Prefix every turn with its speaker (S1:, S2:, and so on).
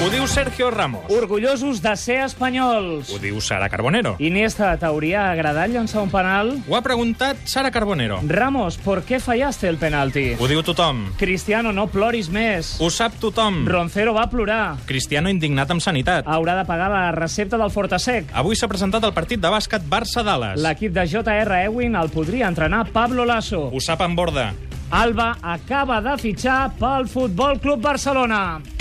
S1: Ho diu Sergio Ramos.
S2: Orgullosos de ser espanyols.
S1: Ho diu Sara Carbonero.
S2: Iniesta, t'hauria agradat llançar un penal?
S1: Ho ha preguntat Sara Carbonero.
S2: Ramos, ¿por qué fallaste el penalti?
S1: Ho diu tothom.
S2: Cristiano, no ploris més.
S1: Ho sap tothom.
S2: Roncero va plorar.
S1: Cristiano indignat amb sanitat.
S2: Haurà de pagar la recepta del Fortasec.
S1: Avui s'ha presentat el partit de bàsquet Barça-Dales.
S2: L'equip de J.R. Ewing el podria entrenar Pablo Lasso.
S1: Ho sap en borda.
S2: Alba acaba de fitxar pel Futbol Club Barcelona.